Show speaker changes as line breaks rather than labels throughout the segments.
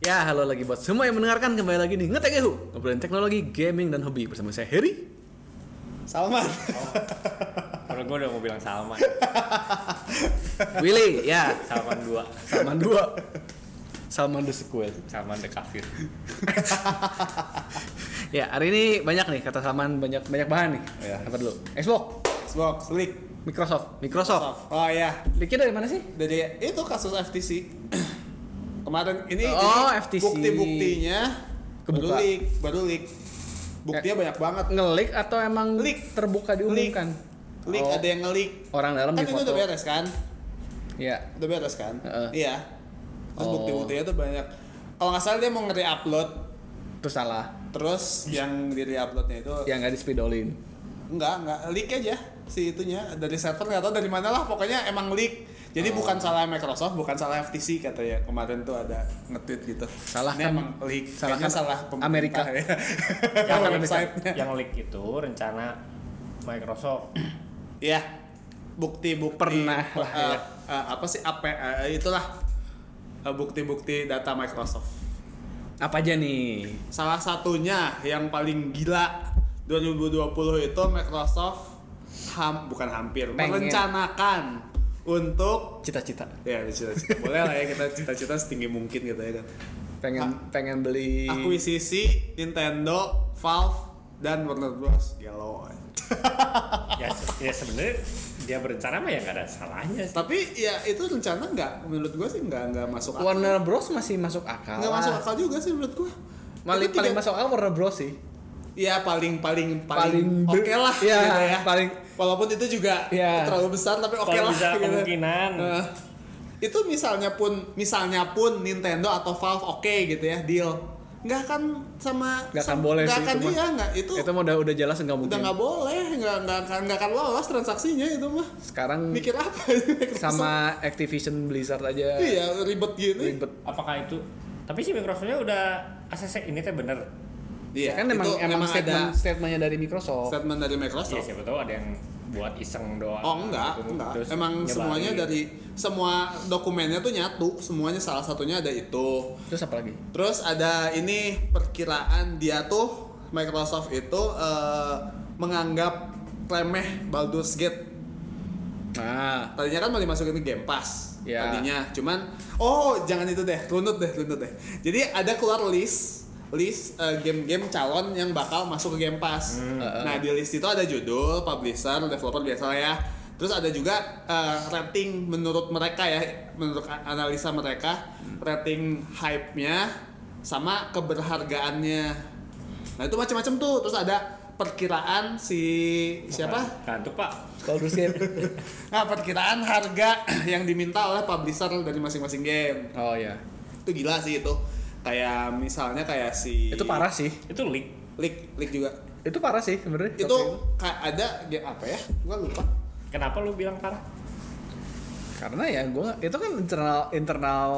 Ya, halo lagi buat semua yang mendengarkan kembali lagi di Ngetek Ehu, ngobrolin teknologi, gaming, dan hobi bersama saya Heri.
Salman.
Oh. Kalau gue udah mau bilang Salman,
Willy, ya.
Salman 2,
Salman 2. Salman the sequel.
Salman the Kafir.
Ya, hari ini banyak nih kata Salman banyak banyak bahan nih.
Iya.
Apa dulu? Xbox,
Xbox, leak.
Microsoft, Microsoft.
Oh ya,
Leaknya dari mana sih?
dari itu kasus FTC. Kemarin ini
Oh,
ini
FTC.
bukti-buktinya baru
Kebuka.
leak, baru leak. Buktinya banyak banget.
Ngelik atau emang
Leak.
terbuka diumumkan?
Leak
Oh,
ada yang nge-leak.
orang dalam
Kan
di
itu udah
foto.
beres kan?
Ya.
Udah beres kan?
Heeh.
Iya. Terus
Oh.
bukti-buktinya tuh banyak. Kalau nggak salah dia mau nge-re-upload
Terus salah,
terus yang di re-uploadnya itu
yang nggak dispidolin.
Enggak, enggak leak aja si itunya dari server nggak tahu dari mana lah pokoknya emang leak. Jadi
Oh.
bukan salah Microsoft, bukan salah FTC katanya kemarin tuh ada nge-tweet gitu.
Salah
Ini
kan-
emang leak.
salah
Kayaknya
kan
salah pemerintah
Amerika.
ya.
yang,
Salah
leak,
website-nya.
yang leak itu rencana Microsoft.
Iya. Bukti-bukti
Pernah lah,
eh,
ya.
eh, apa sih apa eh, itulah eh, bukti-bukti data Microsoft.
Apa aja nih?
Salah satunya yang paling gila 2020 itu Microsoft ham bukan hampir
Pengen.
merencanakan untuk
Cita-cita.
Ya, cita-cita. Boleh lah ya kita cita-cita setinggi mungkin gitu ya kan.
Pengen pengen beli
Akuisisi Nintendo, Valve, dan Warner Bros. Gelo.
ya se- ya sebenarnya dia berencana mah ya nggak ada salahnya sih.
Tapi ya itu rencana nggak, menurut gue sih nggak nggak masuk akal.
Warner Bros masih masuk akal.
Nggak
lah.
masuk akal juga sih menurut gue.
Paling,
Itu
paling
tiga-
masuk akal Warner Bros sih.
Iya paling paling
Paling
paling,
be-
oke lah
Iya,
gitu ya.
paling-
walaupun itu juga
Iya.
terlalu besar tapi oke
Kalau
lah.
bisa
gitu.
kemungkinan.
Eh, itu misalnya pun misalnya pun Nintendo atau Valve oke gitu ya deal. Nggak akan sama
Nggak akan
sama-
boleh
nggak
sih
akan
itu mah.
iya nggak itu,
Itu mah udah udah jelas nggak mungkin.
udah nggak boleh nggak nggak akan nggak akan lolos transaksinya itu mah.
Sekarang
Mikir apa sih Microsoft?
sama Activision Blizzard aja
iya ribet gini.
ribet.
Apakah itu? Tapi si Microsoftnya udah ACC ini teh bener.
Iya
kan
itu
emang emang
ada
statement Iya, statementnya dari Microsoft.
statement dari Microsoft.
Ya siapa tahu ada yang buat iseng doang.
Oh enggak,
gitu.
enggak.
Terus
Emang
nyebarin.
semuanya dari semua dokumennya tuh nyatu, semuanya salah satunya ada itu.
Terus apa lagi?
Terus ada ini perkiraan dia tuh Microsoft itu eh, menganggap remeh Baldur's Gate.
Nah,
Tadinya kan mau dimasukin ke Game Pass.
Ya.
Tadinya, cuman oh jangan itu deh, runut deh, runut deh. Jadi ada keluar list list eh, game-game calon yang bakal masuk ke Game Pass. Nah, di list itu ada judul, publisher, developer biasa lah ya. Terus ada juga eh, rating menurut mereka ya, menurut a- analisa mereka, rating hype-nya sama keberhargaannya. Nah, itu macam-macam tuh. Terus ada perkiraan si siapa?
Nah, itu Pak.
Baldur's Gate.
Nah, perkiraan harga yang diminta oleh publisher dari masing-masing game.
oh ya.
Itu gila sih itu. Kayak misalnya kayak si
Itu parah sih.
Itu leak.
Leak, leak juga.
Itu parah sih sebenarnya.
Itu kayak ada game apa ya? Gua lupa.
Kenapa lu bilang parah?
karena ya gua itu kan internal internal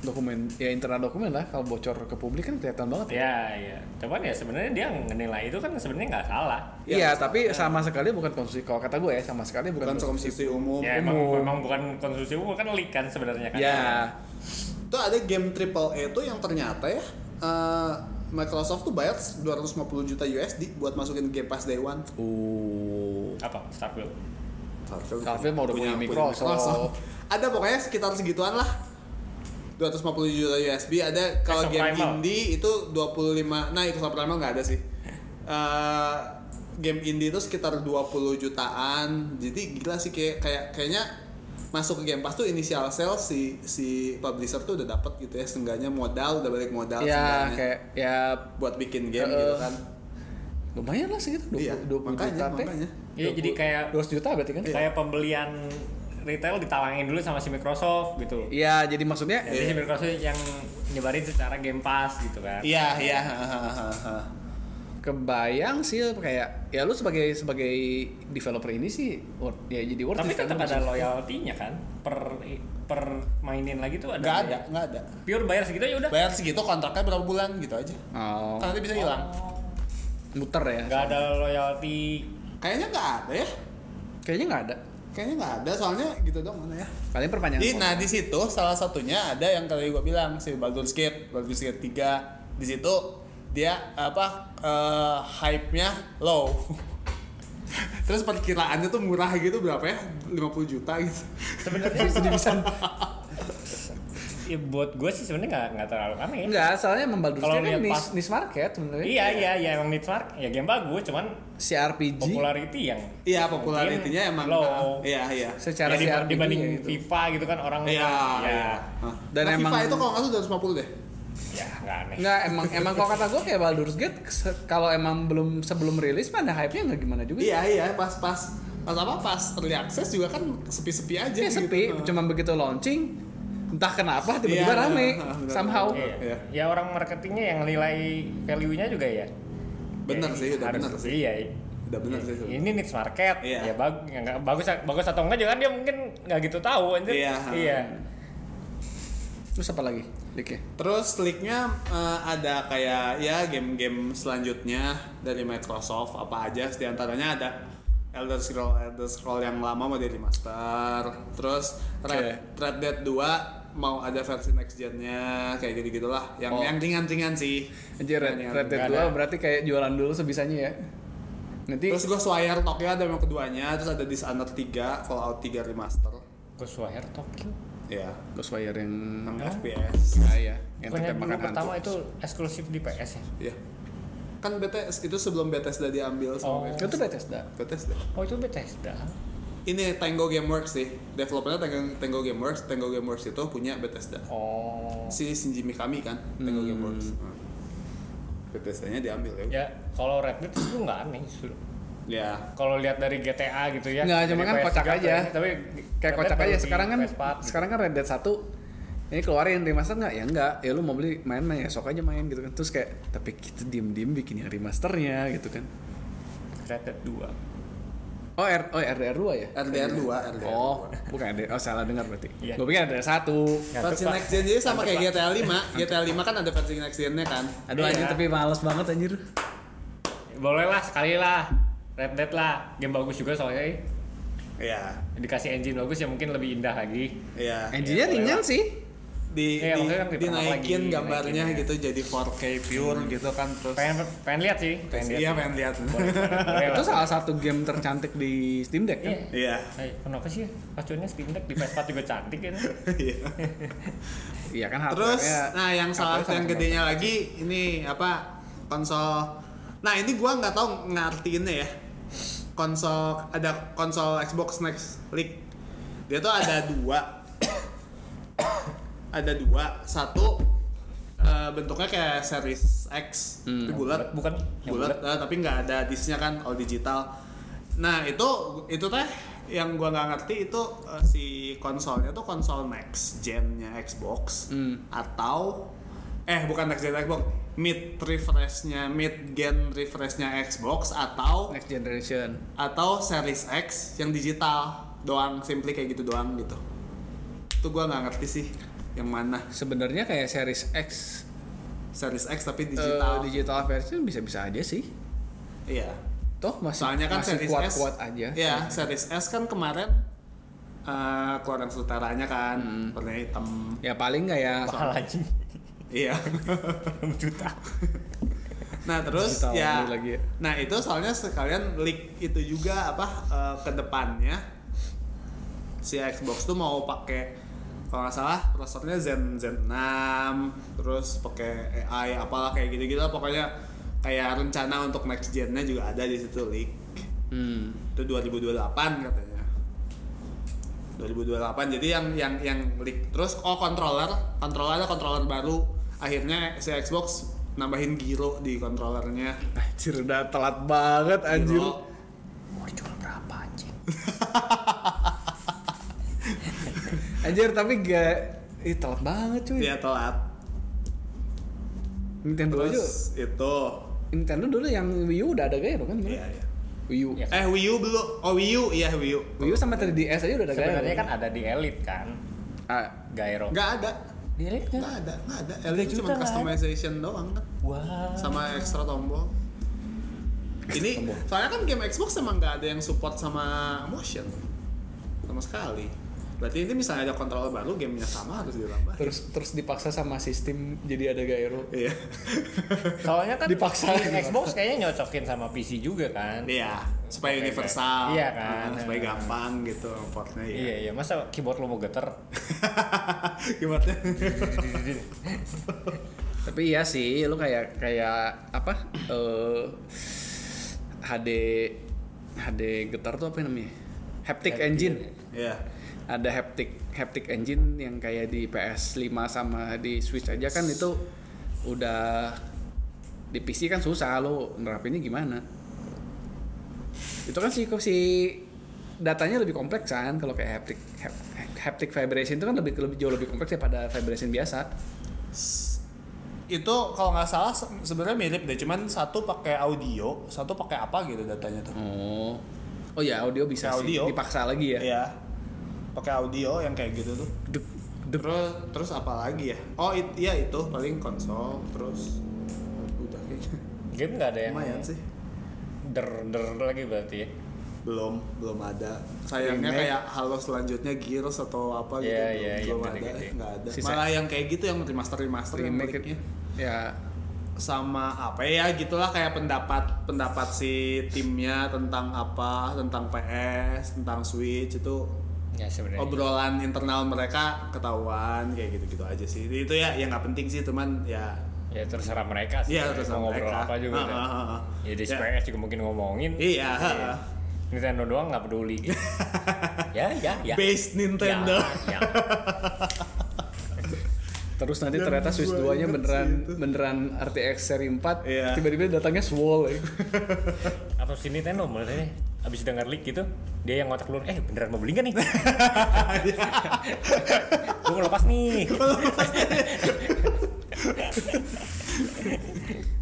dokumen ya internal dokumen lah kalau bocor ke publik kan kelihatan banget
Iya,
ya.
Ya, ya. Cuman ya sebenarnya dia menilai itu kan sebenarnya nggak salah.
Ya,
Iya, tapi sama sekali bukan konsumsi. Kalau kata gue ya, sama sekali bukan,
Bukan konsumsi umum.
Ya emang,
Umum.
memang bukan konsumsi umum kan leak kan sebenarnya kan.
Iya.
Ya,
Itu ada game AAA itu yang ternyata ya eh, Microsoft tuh bayar 250 juta USD buat masukin Game Pass Day One.
Uh,
Apa? Starfield.
Starfield,
Starfield mah udah punya Microsoft.
Ada pokoknya sekitar segituan lah. 250 juta USB ada kalau
Exo
game
Primal.
indie itu 25. Nah, itu Primal nggak ada sih. Eh, game indie itu sekitar 20 jutaan. Jadi gila sih kayak kayak kayaknya masuk ke Game Pass tuh initial sales si si publisher tuh udah dapat gitu ya setengahnya modal udah balik
ya
modal seenggaknya
kayak ya
buat bikin game
Eh,
gitu kan.
lumayan lah segitu 20,
Iya,
20
makanya
juta teh.
makanya.
Iya, jadi kayak
200 juta berarti
iya.
kan?
kayak pembelian retail ditalangin dulu sama si Microsoft gitu.
Iya, jadi maksudnya
Jadi si Microsoft yang nyebarin secara Game Pass gitu kan.
Iya, iya. hahaha.
kebayang sih kayak ya lu sebagai sebagai developer ini sih worth- ya jadi worth it
Tapi
kan
tetap ada loyalty-nya kan. Per per mainin lagi tuh ada.
Nggak ada,
loyal.
nggak ada.
Pure bayar segitu ya udah.
Bayar segitu kontraknya berapa bulan gitu aja.
Oh,
Kan nanti bisa hilang.
muter ya.
Nggak ada loyalty.
Kayaknya nggak ada ya.
Kayaknya nggak ada.
Kayaknya nggak ada, soalnya gitu dong mana ya.
Paling perpanjangan.
Jadi, nah
kontrak.
di situ salah satunya ada yang tadi gua bilang si Baldur's Gate, Baldur's Gate 3. Di situ dia apa eh, hype-nya low. Terus perkiraannya tuh murah gitu berapa ya? 50 juta gitu.
Sebenarnya Ya, buat gue sih sebenarnya nggak nggak terlalu aneh.
Enggak, soalnya emang Baldur's
Kalau
Gate kan
lihat
niche,
pas-
niche market sebenarnya.
Iya iya iya emang niche market ya game bagus cuman
Si RPG
popularity yang
Iya,
mungkin
popularitinya emang
low.
Iya, iya.
secara
Ya,
si
dib-
RPG
dibanding
ya gitu.
FIFA gitu kan orang
Iya,
ya
iya.
Dan
Dan
emang-
FIFA itu kalau nggak salah 250 deh.
ya nggak aneh.
Enggak, emang emang kalau kata gue kayak Baldur's Gate se- kalau emang belum sebelum rilis mana hype-nya nggak gimana juga.
Iya, iya, pas pas pas apa pas early access juga kan sepi-sepi aja
Ya,
gitu.
sepi, cuma begitu launching entah kenapa tiba-tiba
Iya,
rame
iya, benar,
somehow.
Iya.
Iya.
Ya orang marketingnya yang nilai value-nya juga ya.
Bener
Ya,
sih, udah
harus-
bener sih.
Iya.
Udah bener sih. sebenarnya.
Ini niche market.
Iya.
Ya bag- ya nggak- bagus bagus atau enggak juga kan dia mungkin nggak gitu tahu anjir.
Iya.
Iya.
Terus apa lagi? Dike.
Terus leaknya eh, ada kayak ya game-game selanjutnya dari Microsoft apa aja Di antaranya ada Elder Scroll Elder Scroll yang lama mau di remaster. Terus Red, Red Dead 2 mau ada versi next gen-nya kayak gitu-gitulah yang
Oh.
yang ringan-ringan sih.
Anjir Red,
Yang
Red Dead
nggak
2
ada.
berarti kayak jualan dulu sebisanya ya. Nanti
Terus gue Swire Tokyo ada yang keduanya, terus ada Dishonored 3, Fallout 3 remaster.
Ghostwire Tokyo.
Iya,
Ghostwire yang
6
Hah?
FPS.
ah, ya, yang
Bukannya
tempat
dulu
makan
pertama
hantu.
itu eksklusif di PS ya?
Iya. Kan BTS itu sebelum Bethesda diambil sama
Oh.
Bethesda.
Itu tuh Bethesda.
Bethesda.
Oh itu Bethesda.
Ini Tango Gameworks sih. Developernya Tango, Tango Gameworks. Tango Gameworks itu punya Bethesda.
Oh.
Si Shinji Mikami kan, Tango Gameworks. Hmm. Bethesda-nya diambil ya.
Ya kalau Red Dead itu nggak aneh justru.
Ya.
Kalau lihat dari GTA gitu ya.
Nggak,
dari
cuma kan
PS3
kocak aja.
kayaknya, ya, Tapi
kayak
Red Dead
kocak
baru
aja
di
sekarang kan
PS4 gitu.
sekarang kan Red Dead 1 ini keluarin remaster nggak ya nggak ya lu mau beli main main ya sok aja main gitu kan terus kayak tapi kita diem diem bikin yang remasternya gitu kan
Red Dead 2.
oh R oh RDR 2 ya
RDR 2, RDR.
oh bukan RDR oh salah dengar berarti
Iya.
gue pikir RDR 1
Ngantuk,
Versi
Pak.
next gen jadi sama kayak GTA 5. GTA 5 kan ada versi next gen-nya kan.
aduh
Iya.
anjir tapi males banget anjir
Boleh lah sekali lah. Red Dead lah. Game bagus juga soalnya. eh.
Iya.
Dikasih engine bagus ya mungkin lebih indah lagi.
Iya.
engine-nya
boleh
ringan
lah.
sih
di,
Iya,
di-
maksudnya kan dipermak
dinaikin
lagi,
gambarnya
dinaikin,
gitu jadi 4K pure gitu kan terus
Pengen pengen lihat sih. Pengen lihat.
iya pengen lihat
Boleh, boleh
itu
lah.
salah satu game tercantik di Steam Deck kan
Iya.
iya
Eh, kenapa sih? Pacuannya Steam Deck di PS4 juga cantik kan.
Iya.
iya kan
terus
hardware-nya-
nah yang salah
hardware sama
yang
semua.
gedenya lagi ini apa konsol nah ini gua nggak tahu ngartiinnya ya konsol ada konsol Xbox Next League dia tuh ada dua ada dua satu eh, bentuknya kayak series X itu bulat
bukan? Yang
bulat eh, tapi nggak ada disnya kan all digital nah itu itu teh yang gua nggak ngerti itu eh, si konsolnya tuh konsol next gennya Xbox atau eh bukan next gen Xbox mid refreshnya mid gen refreshnya Xbox atau
next generation
atau series X yang digital doang simply kayak gitu doang gitu itu gua nggak ngerti sih yang mana
sebenarnya kayak series X
series X tapi
digital
digital
digital version bisa-bisa aja sih
iya
toh masih
soalnya kan
masih
series S
kuat-kuat aja Hmm.
ya series S kan kemarin eh keluar yang setaranya kan warnanya hitam
ya paling nggak ya
Mahal aja.
iya
6 juta.
nah terus
Digital
ya
dulu lagi ya.
nah itu soalnya sekalian leak itu juga apa eh, ke depannya si Xbox tuh mau pakai kalau nggak salah prosesornya Zen Zen 6 terus pakai AI apalah kayak gitu-gitu lah. pokoknya kayak rencana untuk next gen-nya juga ada di situ leak
hmm.
itu 2028 katanya 2028 jadi yang yang yang leak terus oh controller controller ada controller baru akhirnya si Xbox nambahin giro di controllernya
anjir udah telat banget anjir
Giro.
Mau jual berapa anjing?
anjir tapi gak ih telat banget cuy
dia telat
Nintendo aja
Iya. terus itu
Nintendo dulu yang Wii U udah ada gaya loh kan bener?
iya iya
Wii U
Iya.
eh Wii U belum oh Wii U iya Wii U
Wii U sama 3DS aja udah ada gaya
Sebenarnya kan ada di Elite kan.
ah,
Gyro.
nggak ada
Di Elite
Iya.
kan?
nggak ada nggak ada
Udah
Elite
juga
kan?
cuma
nggak ada.
customization doang kan
Wah.
sama extra tombol ini
Tombol.
soalnya kan game Xbox emang nggak ada yang support sama motion sama sekali berarti ini misalnya ada kontrol baru gamenya sama harus ditambah
terus terus dipaksa sama sistem jadi ada gairo
iya
Soalnya kan
Dipaksa.
si Xbox kayaknya nyocokin sama PC juga kan.
iya supaya universal
Iya kan.
nah, supaya gampang gitu portnya ya
Iya iya, masa keyboard lo mau geter?
gimana
tapi iya sih lu kayak kayak apa eh HD HD getar tuh apa namanya haptic engine
iya
ada haptic haptic engine yang kayak di PS5 sama di Switch aja kan itu udah di PC kan susah lo nerapinnya gimana itu kan si si datanya lebih kompleks kan kalau kayak haptic hap- haptic vibration itu kan lebih, lebih jauh lebih kompleks daripada vibration biasa
itu kalau nggak salah se- sebenarnya mirip deh cuman satu pakai audio satu pakai apa gitu datanya tuh
oh oh ya audio bisa
Kayak
sih
audio.
dipaksa lagi ya
Iya. Pakai audio yang kayak gitu tuh.
Dup, dup.
Terus terus apa lagi ya? Oh, it- iya itu paling konsol terus udah kayaknya.
Game nggak ada yang
Lumayan sih.
der der lagi berarti ya.
Belum, belum ada. Sayangnya
Remake.
kayak halo selanjutnya Gears atau apa gitu.
Iya,
belum-
iya,
belum
yang
ada,
gede-gede.
nggak ada.
Sisa-
Malah yang kayak gitu yang remaster remaster yang
remake
miliknya.
ya
sama apa ya gitulah kayak pendapat pendapat si timnya tentang apa tentang PS tentang Switch itu
Ya
Oh,
sebenarnya.
obrolan internal mereka ketahuan kayak gitu-gitu aja sih itu ya yang nggak penting sih teman ya
Ya terserah mereka sih.
Iya,
mau
terserah
ngobrol
mereka.
apa juga.
Ah,
kan.
ah, ah, ah.
Ya di
Ya.
PS juga mungkin ngomongin.
iya
Nintendo doang nggak peduli. gitu. ya ya ya.
base
Ya,
Nintendo
ya.
Terus nanti
Dan
ternyata Switch 2
gua
nya
inget
beneran
sih itu.
beneran RTX seri 4
Iya.
tiba-tiba datangnya Swole ya.
Atau si Nintendo mulai abis denger leak gitu dia yang ngotak lu eh beneran mau beli nggak nih gue mau lepas nih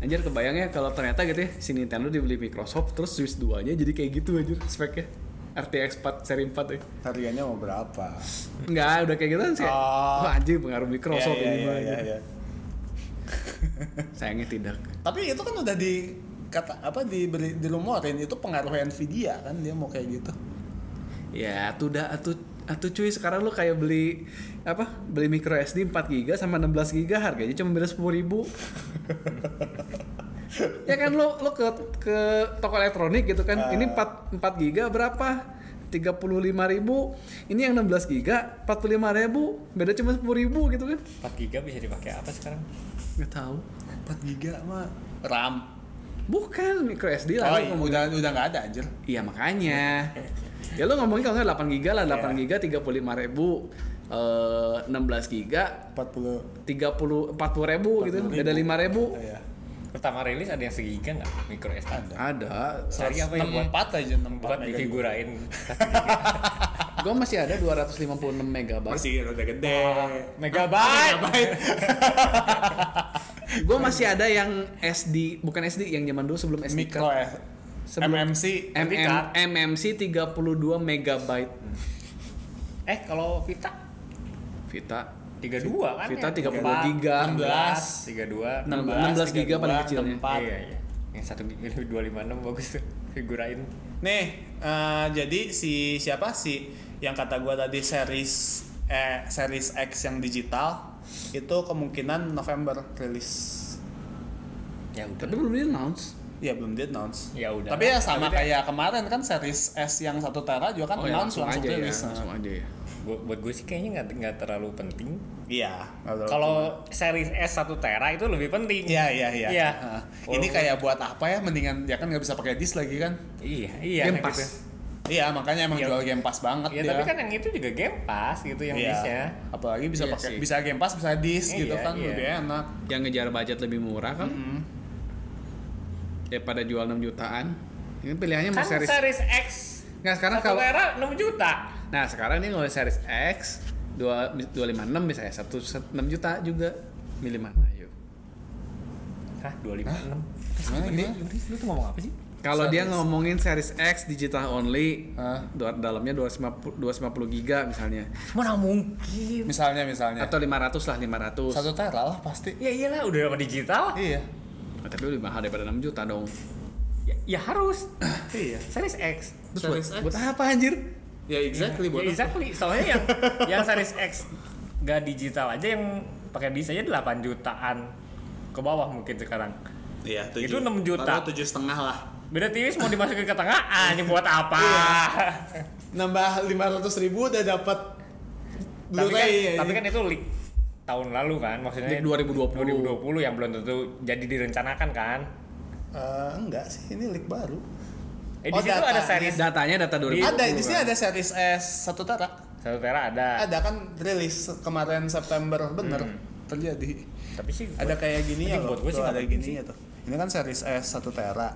Anjir kebayangnya kalau ternyata gitu ya si Nintendo dibeli Microsoft terus Switch 2 nya jadi kayak gitu anjir speknya RTX 4 seri 4 ya.
harganya mau berapa
Enggak, udah kayak gitu kan sih.
Oh.
Wah, anjir pengaruh Microsoft
Iya,
ini
iya,
mah,
iya,
anjir.
iya.
Sayangnya tidak.
tapi itu kan udah di kata apa diberi dilumorin itu pengaruh Nvidia kan dia mau kayak gitu
Ya, tuh dah atuh atuh cuy sekarang lu kayak beli apa? Beli micro SD 4 GB sama 16 GB harganya cuma beda 10 ribu. ya kan lu lu ke ke toko elektronik gitu kan.
Ah.
Ini 4 4 GB berapa? 35 ribu. Ini yang 16 GB 45 ribu. Beda cuma 10 ribu gitu kan.
4 giga bisa dipakai apa sekarang
Nggak tahu.
4 giga mah RAM
Bukan micro SD lah. lu
oh, iya,
ngomong-
udah udah nggak ada anjir
Iya makanya. ya lu ngomongin kalau nggak 8 GB lah,
Iya.
8 GB 35 ribu. Eh, 16 GB
40
tiga puluh empat puluh ribu gitu beda lima ribu
ya
pertama rilis ada yang segiga nggak micro SD
ada
cari apa yang buat
64 aja 64
buat
mega juga.
difigurain
gue masih ada 256 megabyte
masih udah gede
megabyte
gue masih ada yang SD bukan SD yang zaman dulu sebelum kan. SD
micro
card.
ya
Sebelum-
MMC
MM, MMC 32 megabyte
eh kalau Vita
Vita
32 kan
Vita
ya?
32 giga
16,
32
Enam- 16 giga paling
32,
kecilnya.
64.
iya iya yang satu giga 256 bagus tuh figurain
Nih, eh, jadi si siapa sih yang kata gua tadi series eh series X yang digital itu kemungkinan November rilis.
ya udah
tapi belum di announce
Ya belum di announce.
Ya udah.
Tapi ya sama
Tapi Oh,
kayak kemarin kan series S yang satu tera juga kan
ya,
announce langsung, rilis.
ya langsung aja ya
Gua- buat gue sih kayaknya nggak nggak terlalu penting
Iya. nggak terlalu-
kalau series S 1 tera itu lebih penting
Iya iya iya.
Iya.
Heeh. Ini kayak buat apa ya? Mendingan ya kan nggak bisa pakai disk lagi kan?
iya iya
game
kayak
pass
gitu.
Iya makanya emang
Iya.
jual game pass banget
ya
dia.
tapi kan yang itu juga game pass gitu yang
Iya.
bisnya
Apalagi bisa
Iya
pakai
sih.
bisa game pass bisa disk
Iya,
gitu kan
iya.
lebih enak.
yang ngejar budget lebih murah kan daripada jual 6 jutaan ini pilihannya mau
kan series,
series
X
nggak sekarang
satu
kalau
tera 6 juta
Nah sekarang ini ngomongin series X 2, 256 misalnya 1, 6 juta juga milih mana yuk
Hah, 256?
Gimana,
Ini,
gimana?
ini lu tuh ngomong apa sih?
kalau dia
Series-
ngomongin series X digital only
Hah?
dua- dalamnya 250 250 giga misalnya
Mana mungkin?
Misalnya misalnya.
atau 500 lah 500
Iya. satu tera lah pasti.
Ya iyalah, udah sama digital.
Iya.
Nah, tapi lebih mahal daripada 6 juta dong
Ya, ya harus.
iya.
Series X.
terus buat,
Series X.
buat apa anjir
Ya exactly
Ya,
bodoh.
exactly. Soalnya yang yang Series X gak digital aja yang pakai disk aja 8 jutaan ke bawah mungkin sekarang.
Iya,
Itu 6 juta.
tujuh setengah lah.
Beda tipis mau dimasukin ke tengah anjing buat apa?
Iya.
Nambah lima ratus ribu udah dapat
tapi kan,
Blu-ray. ya, iya.
tapi kan itu leak tahun lalu kan
iya,
maksudnya
Leak 2020.
2020 yang belum tentu jadi direncanakan kan.
Eh, enggak sih, ini leak baru.
Eh
Oh,
di situ ada
datanya.
series
Datanya data 2020.
Iya,
Ada di sini
kan?
ada series S satu tera.
satu tera ada.
Ada kan rilis kemarin September bener terjadi.
Tapi sih buat-
Ada kayak gini ya loh.
penting Hmm. buat gue
Tuh,
sih nggak
ada
penting
gini ya tuh. Ini kan series S 1 tera.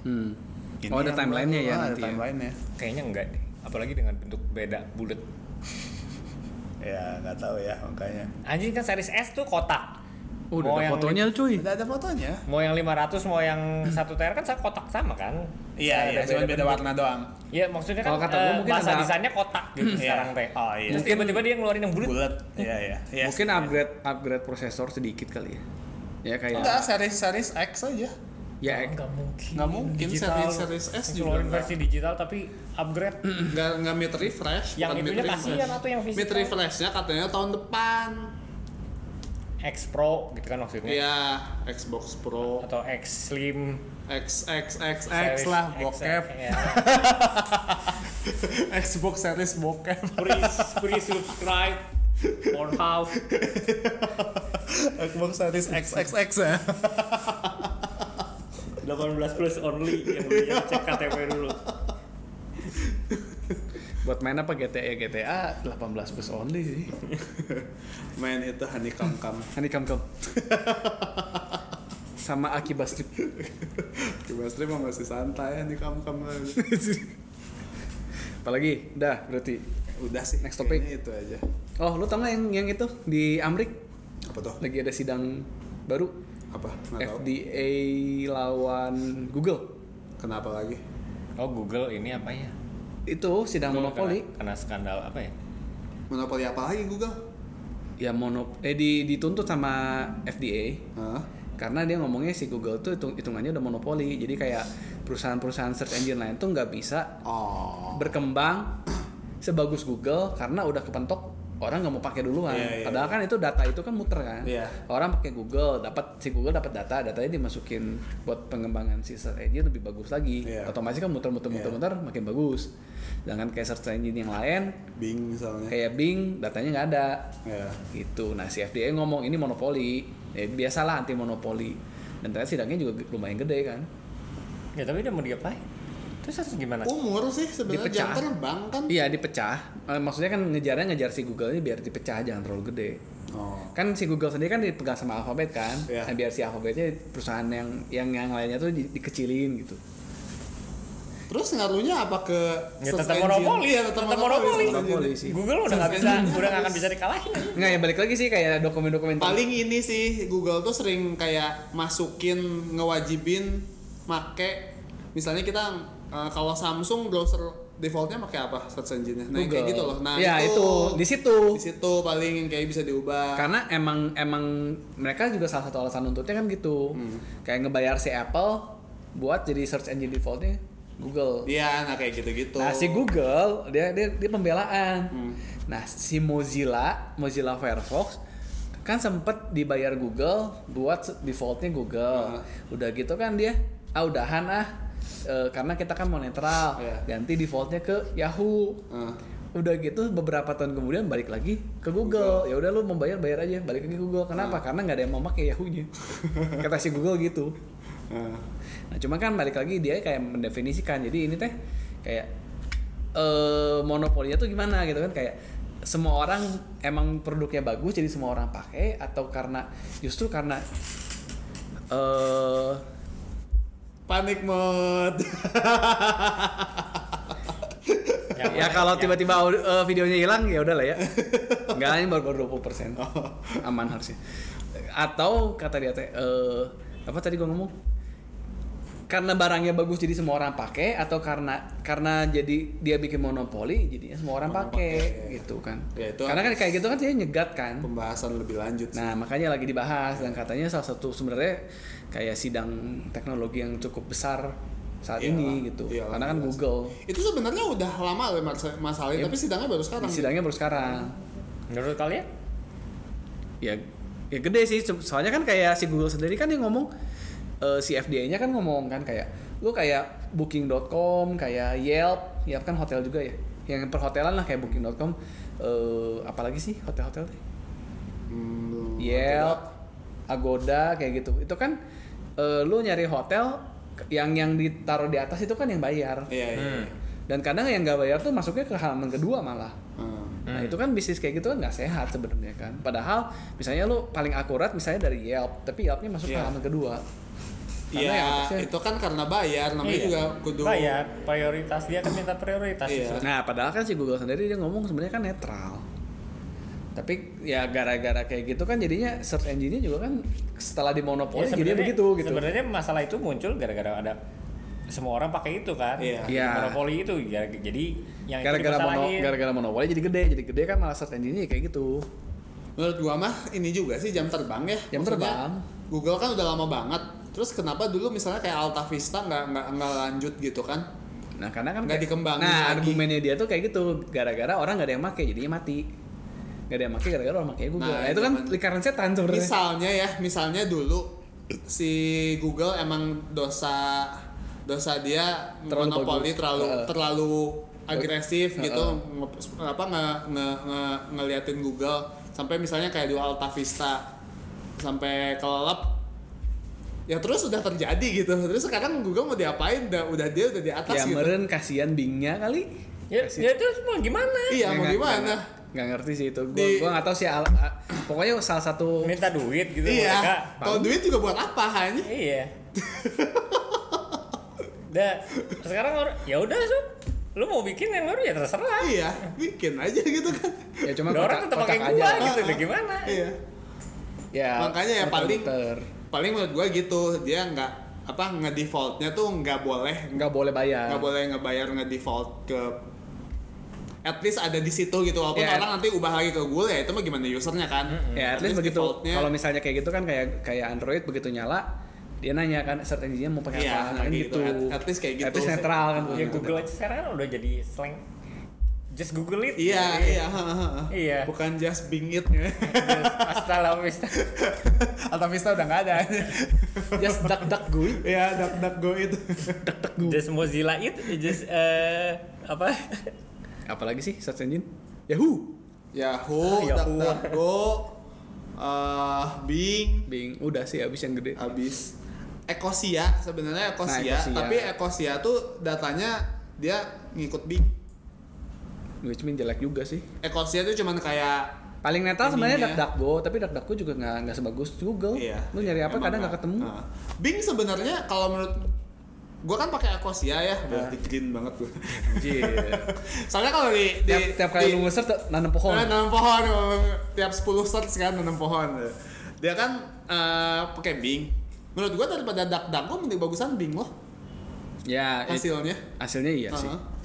Hmm.
Ini
Oh, ada
yang
timelinenya
baru,
ya
ah,
nanti
Ada
ya.
timelinenya.
kayaknya enggak deh. Apalagi dengan bentuk beda bulat.
Ya nggak tahu ya makanya.
Anjing kan series S tuh kotak.
Oh, udah
Mau
ada
yang
fotonya cuy.
Udah ada fotonya.
mau yang 500 mau yang satu tera kan sa- kotak sama kan
Iya,
Ada
iya, cuma beda
bentuk.
warna doang.
Iya, maksudnya kan
Kalau kata
eh,
gua mungkin
bahasa
ada-
desainnya kotak gitu
Iya.
sekarang teh
Oh, iya.
terus tiba-tiba dia ngeluarin yang bulat
Bulat. Iya, iya. Iya.
Mungkin upgrade upgrade prosesor sedikit kali ya. Ya kayak
Enggak, series series X aja.
ya
mungkin
Nggak mungkin, series- series S juga
ngeluarin
nggak.
versi digital tapi upgrade
Enggak enggak mid refresh,
Yang
bukan mid
itunya
refresh.
kasihan atau yang
Mid
physical?
refreshnya katanya tahun depan.
X Pro gitu kan maksudnya
Iya, Xbox Pro,
atau X Slim
X X X X
series
lah
X,
bokep.
ya.
Xbox series bokep.
please please subscribe Pornhub
Xbox series X X X ya.
18 plus only yang belinya cek KTP dulu
buat main apa GTA ya GTA 18 plus only sih.
Main itu honeycomb kam.
Ini kam kam. Sama Aki Bastrip.
Coba stream mau masih santai honeycomb kam.
Apalagi, dah berarti.
Udah sih.
Next topic.
kayaknya itu aja.
Oh, lu tau nggak yang yang itu di Amrik
Apa tuh?
lagi ada sidang baru
Apa? Nggak tahu.
FDA lawan Google.
Kenapa lagi?
oh Google ini apa ya
Itu sidang
kan
monopoli.
karena skandal apa ya
Monopoli apa lagi Google?
Ya monop eh di- dituntut sama FDA
Hah?
karena dia ngomongnya si Google tuh hitung- hitungannya udah monopoli. Jadi kayak perusahaan-perusahaan search engine lain tuh nggak bisa
Oh.
berkembang sebagus Google karena udah kepentok orang nggak mau pakai duluan.
Iya, iya,
Padahal kan itu data itu kan muter kan.
Iya.
Orang pakai Google dapat si Google dapat data, datanya dimasukin buat pengembangan si search engine lebih bagus lagi.
Iya.
Otomatis kan muter-muter
Iya.
muter-muter makin bagus. Sedangkan kayak search engine yang lain
Bing misalnya.
kayak Bing datanya nggak ada
Ya.
gitu. Nah si FDA ngomong ini monopoli, ya, biasalah anti monopoli. Dan ternyata sidangnya juga lumayan gede kan.
Ya tapi dia mau diapain? Terus harus gimana?
Umur sih sebenarnya
Dipecah.
jam terbang kan.
Iya dipecah. Eh, Maksudnya kan ngejarnya ngejar si Google ini biar dipecah jangan terlalu gede.
Oh.
Kan si Google sendiri kan dipegang sama Alphabet kan.
Iya.
Nah, biar si Alphabetnya perusahaan yang yang yang lainnya tuh di- dikecilin gitu.
Terus ngaruhnya apa ke
Ya
search
tetap
engine?
monopoli,
Iya,
tetap monopoli.
search engine.
Monopoli sih.
Google udah nggak bisa, udah nggak akan bisa dikalahin. aja.
Nggak ya balik lagi sih kayak dokumen-dokumen
Paling ini sih Google tuh sering kayak masukin ngewajibin make misalnya kita eh, kalau Samsung browser defaultnya pakai apa search engine-nya. Nah,
Google.
kayak gitu loh. Nah,
ya itu, di situ.
di situ paling yang kayak bisa diubah.
Karena emang emang mereka juga salah satu alasan nuntutnya kan gitu.
Hmm.
Kayak ngebayar si Apple buat jadi search engine defaultnya Google.
Iya, nah kayak gitu-gitu.
Nah si Google dia dia, dia pembelaan. Nah si Mozilla Mozilla Firefox kan sempet dibayar Google buat se- defaultnya Google. Udah gitu kan dia ah udahan ah eh, karena kita kan mau netral
Iya.
ganti defaultnya ke Yahoo.
Ah.
Udah gitu beberapa tahun kemudian balik lagi ke Google. Ya udah lu membayar bayar aja balik lagi ke Google. Kenapa? Karena nggak ada yang mau pakai Yahoo-nya. Kata si Google gitu.
Ah.
Nah, cuma kan balik lagi dia kayak mendefinisikan. Jadi ini teh kayak eh monopolinya tuh gimana gitu kan kayak semua orang emang produknya bagus jadi semua orang pakai atau karena justru karena eh
Panic mode.
Yang
ya
mana-
kalau
yang-
tiba-tiba audio- eh, videonya hilang ya udahlah ya. Enggak ini baru-baru 20%
Oh.
aman harusnya. Atau kata dia teh eh, apa tadi gua ngomong? Karena barangnya bagus jadi semua orang pakai atau karena karena jadi dia bikin monopoli jadinya semua orang
Orang
pakai
pakai.
gitu kan.
Ya, itu
karena kan kayak gitu kan dia nyegat kan.
Pembahasan lebih lanjut. sih.
Nah, makanya lagi dibahas dan katanya salah satu sebenarnya kayak sidang teknologi yang cukup besar saat
Iyalah,
ini gitu.
iyalah,
Karena kan
jelas.
Google.
Itu sebenarnya udah lama loh mas- masalahnya,
Iya.
tapi sidangnya baru sekarang.
Di sidangnya baru sekarang.
Menurut kalian?
Ya ya gede sih so- soalnya kan kayak si Google sendiri kan yang ngomong eh, si FDA-nya kan ngomong kan kayak lu kayak booking.com, kayak Yelp, Yelp kan hotel juga ya. Yang perhotelan lah kayak booking.com eh apalagi sih hotel-hotel deh.
Hmm,
Yelp, Agoda kayak gitu. Itu kan eh, lu nyari hotel yang yang ditaruh di atas itu kan yang bayar.
Iya, iya.
Hmm.
Dan kadang yang nggak bayar tuh masuknya ke halaman kedua malah.
Hmm.
Nah
Hmm.
itu kan bisnis kayak gitu kan nggak sehat sebenarnya kan. Padahal misalnya lu paling akurat misalnya dari Yelp, tapi Yelpnya masuk ke
Iya.
halaman kedua. Karena yang
Iya,
atasnya-
itu kan karena bayar, namanya
Iya.
juga kudu
Bayar prioritas dia kan minta prioritas.
Iya.
Nah padahal kan si Google sendiri dia ngomong sebenarnya kan netral. Tapi ya gara-gara kayak gitu kan jadinya search engine-nya juga kan setelah
Ya,
dimonopoli jadinya
sebenarnya
begitu gitu.
Sebenarnya masalah itu muncul gara-gara ada semua orang pakai itu kan.
Iya.
Iya.
Monopoli itu ya, jadi yang itu
gara-gara mono,
dimasalahin.
gara-gara monopoli jadi gede jadi gede kan malah search engine-nya kayak gitu
Menurut gua mah ini juga sih jam terbang ya.
Jam terbang.
Google kan udah lama banget. Terus kenapa dulu misalnya kayak Alta Vista nggak nggak nggak lanjut gitu kan?
nah karena kan kayak-
Nggak dikembangin
nah
lagi.
argumennya dia tuh kayak gitu gara-gara orang nggak ada yang make jadinya mati nggak ada yang make gara-gara orang pakai Google
Nah,
nah, itu kan
zaman-
lingkaran setan sebenarnya
Misalnya ya, misalnya dulu si Google emang dosa dosa dia
Terlalu
monopoli
bagus.
terlalu
Heeh.
terlalu agresif
Heeh.
gitu nge- apa nge, nge- nge- ngeliatin Google sampai misalnya kayak di Alta Vista sampai kelelep ya terus udah terjadi gitu terus sekarang Google mau diapain udah, udah dia udah di atas
ya
gitu
meren kasihan bingnya kali
Ya, ya terus mau gimana?
iya
Ya Nggak-
mau
nggak-
gimana
nggak- nggak ngerti sih itu gua
Di-
gua nggak tahu sih al- a- pokoknya salah satu
Minta duit gitu
iya
mereka.
kalau duit juga buat apa hanya
Iya. Udah sekarang or- ya udah Sup. Lu mau bikin yang baru ya terserah.
iya bikin aja gitu kan
ya cuma
Udah
kocak,
orang tetap pakai
kocak aja
gua
lah.
gitu udah gimana?
iya
ya
Makanya ya paling-
muter-muter.
paling menurut gua gitu dia nggak apa ngedefaultnya tuh nggak boleh nggak
nggak boleh bayar
boleh ngebayar ngedefault ke at least ada di situ gitu walaupun
Iya.
orang nanti ubah lagi ke Google ya itu mah gimana usernya kan
Ya, at least begitu.
defaultnya- iya,
Kalau misalnya kayak gitu kan kayak kayak Android begitu nyala, dia nanya kan search engine-nya mau pakai
Iya,
apa, kan
kayak
gitu.
gitu. At- at least kayak
At
gitu.
least netral kan.
Ya Google aja sekarang kan udah jadi slang. Just Google it.
iya iya
Iya.
bukan just bing it ya.
Just Hasta la vista.
Alta Vista udah nggak ada
Just duck duck gue.
ya dak dak go itu
Just Mozilla it. Just eh, apa?
Apalagi sih search engine? Yahoo, Ah,
Yahoo
Yahoo.
dak dak go eh, Bing
Bing, udah sih habis yang gede.
habis Ecosia sebenarnya
Nah,
Ecosia,
Ecosia.
tapi Ecosia tuh datanya dia ngikut Bing.
Which mean jelek juga sih.
Ecosia tuh cuman kayak
Paling netral sebenarnya
Endingnya.
DuckDuckGo, tapi DuckDuckGo juga nggak nggak sebagus Google. Lu nyari apa
Iya. emang
kadang nggak ketemu.
Nah, Bing sebenarnya kalau menurut gua kan pakai Ecosia
Nah.
ya, berarti green banget gua.
Anjir.
Soalnya kalau di, di
tiap tiap kali
di-
lu nge-search tuh nanam pohon.
Nah, nanam pohon tiap 10 search kan nanam pohon. Dia kan eh, pakai Bing. Menurut gua daripada DuckDuckGo mending bagusan Bing loh
Ya, it-
hasilnya.
hasilnya iya sih.
Uh-huh.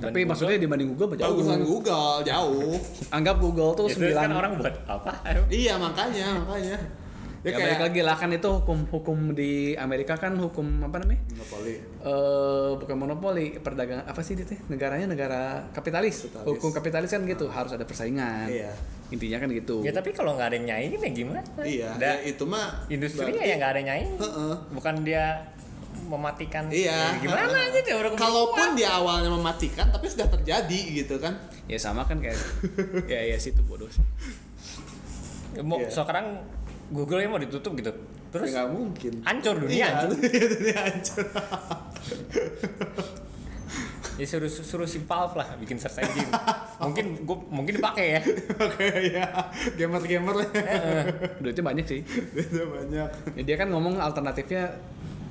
Tapi maksudnya dibanding Google jauh.
Bagusan Google jauh.
Anggap Google tuh
Ya, terus
sembilan
kan orang buat apa?
Iya makanya makanya.
Ya, balik lagi lah kan itu hukum-hukum di Amerika kan hukum apa namanya?
monopoli.
eh bukan monopoli, perdagangan apa sih itu? Negaranya negara kapitalis.
Kapitalis.
Hukum kapitalis kan gitu, harus ada persaingan.
Iya.
Intinya kan gitu.
Ya tapi kalau nggak ada yang nyaingin ya gimana?
Iya.
Udah,
ya itu mah
industrinya
berarti-
ya nggak ada yang nyaingin.
Heeh.
Bukan dia mematikan.
Iya.
Ya, gimana
heeh.
gitu orang
Kalaupun dia awalnya mematikan, tapi sudah terjadi gitu kan.
Ya sama kan kayak ya ya sih itu bodoh sih.
Ya, mau
Iya.
sekarang Google mau ditutup gitu.
Ya
Terus
nggak mungkin.
hancur dunia
Iya,
anjing.
dunia hancur.
Ya suruh suruh si Valve lah bikin search engine. mungkin gua mungkin dipakai ya.
Oke ya, gamer-gamer lah. ya.
Duitnya banyak sih.
Udah banyak.
Ya, dia kan ngomong alternatifnya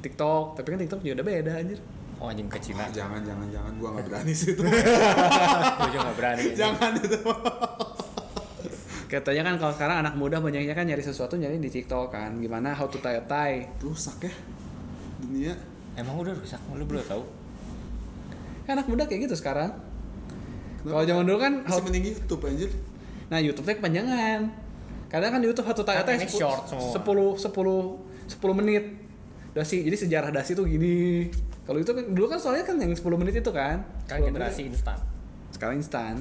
TikTok, tapi kan TikTok juga udah beda anjir.
Oh anjing ke Cina.
Ah, jangan jangan jangan gua nggak berani sih itu.
Gua juga nggak berani.
jangan itu.
Katanya kan kalau sekarang anak muda banyaknya kan nyari sesuatu nyari di TikTok kan. Gimana how to tie a tie.
Rusak ya dunia.
Emang udah rusak lu belum tahu?
Kan anak muda kayak gitu sekarang. Kalau zaman dulu kan how
Masih mending YouTube anjir.
Nah, YouTube-nya kepanjangan. Kadang kan YouTube satu tayang
Kan ini short
10
semua.
10 10 menit. Dasi. Jadi sejarah Dasi tuh gini. Kalau itu kan dulu kan soalnya kan yang 10 menit itu kan.
Kan
10 menit.
generasi instan.
Sekarang instan.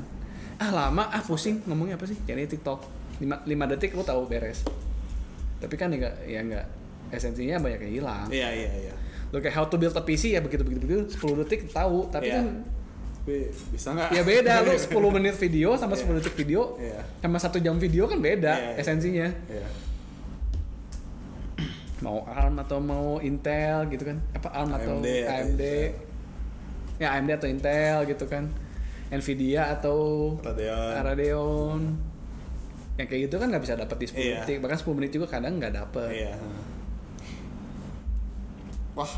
Ah lama, ah pusing ngomongnya apa sih? Jadi TikTok 5, detik lu tahu beres. Tapi kan enggak ya enggak esensinya banyak yang hilang.
Iya iya iya.
Lu kayak how to build a PC ya begitu begitu begitu 10 detik tahu, tapi
Iya.
kan
Tapi bisa nggak?
ya beda lu 10 menit video sama
Iya.
10 detik video
Iya.
sama satu jam video kan
Iya,
beda
iya.
esensinya.
Iya.
Mau ARM atau mau Intel gitu kan. Apa ARM atau
AMD
AMD.
atau Intel.
Ya AMD atau Intel gitu kan. Nvidia atau
Radeon.
Radeon. Yang kayak gitu kan nggak bisa dapat di 10
Iya.
detik, bahkan 10 menit juga kadang nggak dapet.
Iya. Wah,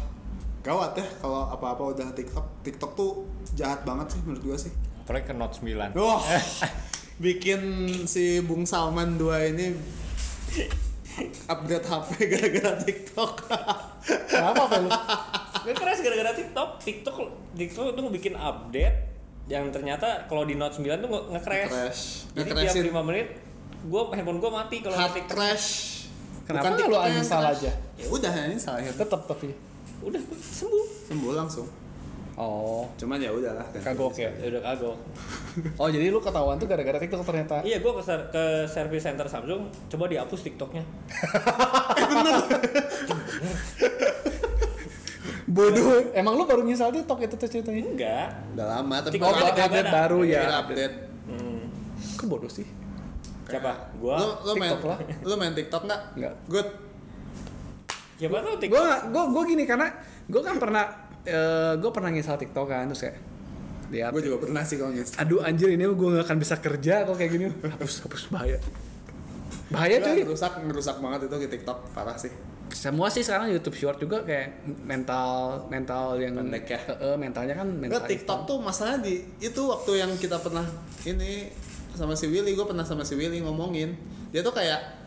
gawat ya kalau apa-apa udah TikTok. TikTok tuh jahat banget sih menurut gua sih.
Apalagi ke Note 9.
Wah, bikin si Bung Salman 2 ini upgrade HP gara-gara TikTok.
Kenapa apa lu?
Gue keras gara-gara TikTok. TikTok TikTok tuh bikin update yang ternyata kalau di Note 9 tuh nge- nge-crash.
Nge-crash.
Jadi tiap
Nge-crashin.
5 menit gua handphone gua mati kalau
Hard
nge-tik.
crash.
Kenapa
Bukan
lu
TikToknya yang
uninstall
crash.
aja?
Ya udah ini salahnya
Tetap Eh, tapi.
Udah gua sembuh.
sembuh langsung.
Oh,
Cuman ya udahlah.
kagok ya.
Ya udah kagok.
Oh, jadi lu ketahuan tuh gara-gara TikTok ternyata.
Iya, gua ke, ser- ke service center Samsung, coba dihapus TikToknya.
Bodoh. Emang lu baru nyesal TikTok itu tuh ceritanya?
Iya.
Oh,
Enggak.
Udah lama tapi
TikTok
baru
update baru
Baru
ya.
update.
Hmm.
Kok bodoh sih?
Siapa?
Lu,
Gua.
lu main
TikTok lah.
Lu main TikTok nggak?
Nggak.
Good.
Siapa tuh TikTok?
gue gue gue gini karena gue kan pernah gue pernah ngisal TikTok kan terus kayak lihat
Gue juga pernah sih kalau nginstal.
aduh anjir ini gue gak akan bisa kerja kalau kayak gini hapus hapus bahaya bahaya
Gua
Iya, cuy
Rusak, merusak banget itu di TikTok parah sih.
semua sih sekarang YouTube short juga kayak mental mental yang
Pendek ya?
Eh, eh, mentalnya kan mental
Enggak TikTok tuh masalahnya di itu waktu yang kita pernah ini sama si Willy, gue pernah sama si Willy ngomongin. Dia tuh kayak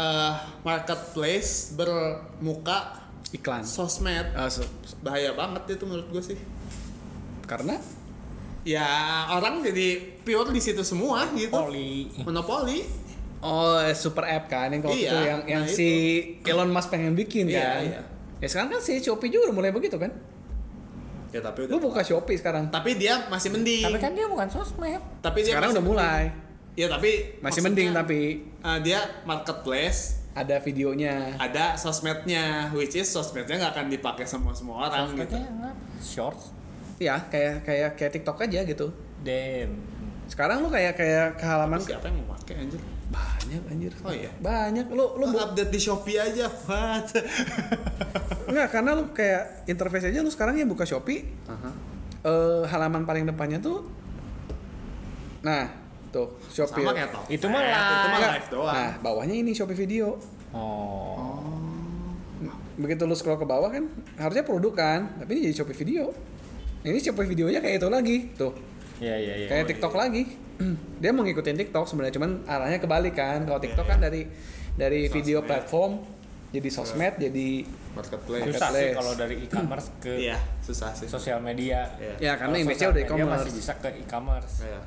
eh marketplace bermuka
iklan
sosmed.
Eh, so- so-
Bahaya banget itu menurut gue sih.
karena
Ya orang jadi pure di situ semua gitu.
Oli.
Monopoli.
oh eh, super app kan yang kalau
Iya,
itu yang yang
nah
si Elon Musk pengen bikin
Iya,
kan
iya.
ya sekarang kan si Shopee juga udah mulai begitu kan
Ya tapi
lu buka Shopee sekarang
Tapi dia masih mending.
Tapi kan dia bukan sosmed.
Tapi dia
sekarang
masih,
udah mulai
Ya tapi
masih
maksudnya,
mending tapi
eh, dia marketplace
ada videonya
ada sosmednya, which is sosmednya nggak akan dipakai sama semua orang gitu.
Sosmednya apa? Shorts.
ya kayak kayak kayak TikTok aja gitu
Damn.
sekarang lu kayak kayak ke halaman
Kan Siapa yang mau pakai anjir?
banyak anjir
Oh iya.
banyak lu lu
Lu
bu-
update di Shopee aja, what?
nggak karena lu kayak interface aja lu sekarang ya buka Shopee eh, halaman paling depannya tuh nah tuh Shopee
Sama kayak Tokped,
Itu mah
Itu mah
Nggak.
live doang.
nah bawahnya ini Shopee video
Oh.
begitu lu scroll ke bawah kan harusnya produk kan tapi ini jadi Shopee video Nah, ini Shopee videonya kayak itu lagi tuh
Iya iya iya.
kayak TikTok lagi dia mau ngikutin TikTok sebenarnya cuman arahnya kebalik kan kalau TikTok kan dari dari video platform jadi sosmed jadi
Marketplace.
Susah sih
Marketplace.
kalau dari e-commerce ke
Iya, susah sih.
sosial media.
ya
Iya.
karena
Kalau
image-nya
sosial
udah
media
e-commerce
masih bisa ke e-commerce.
Iya.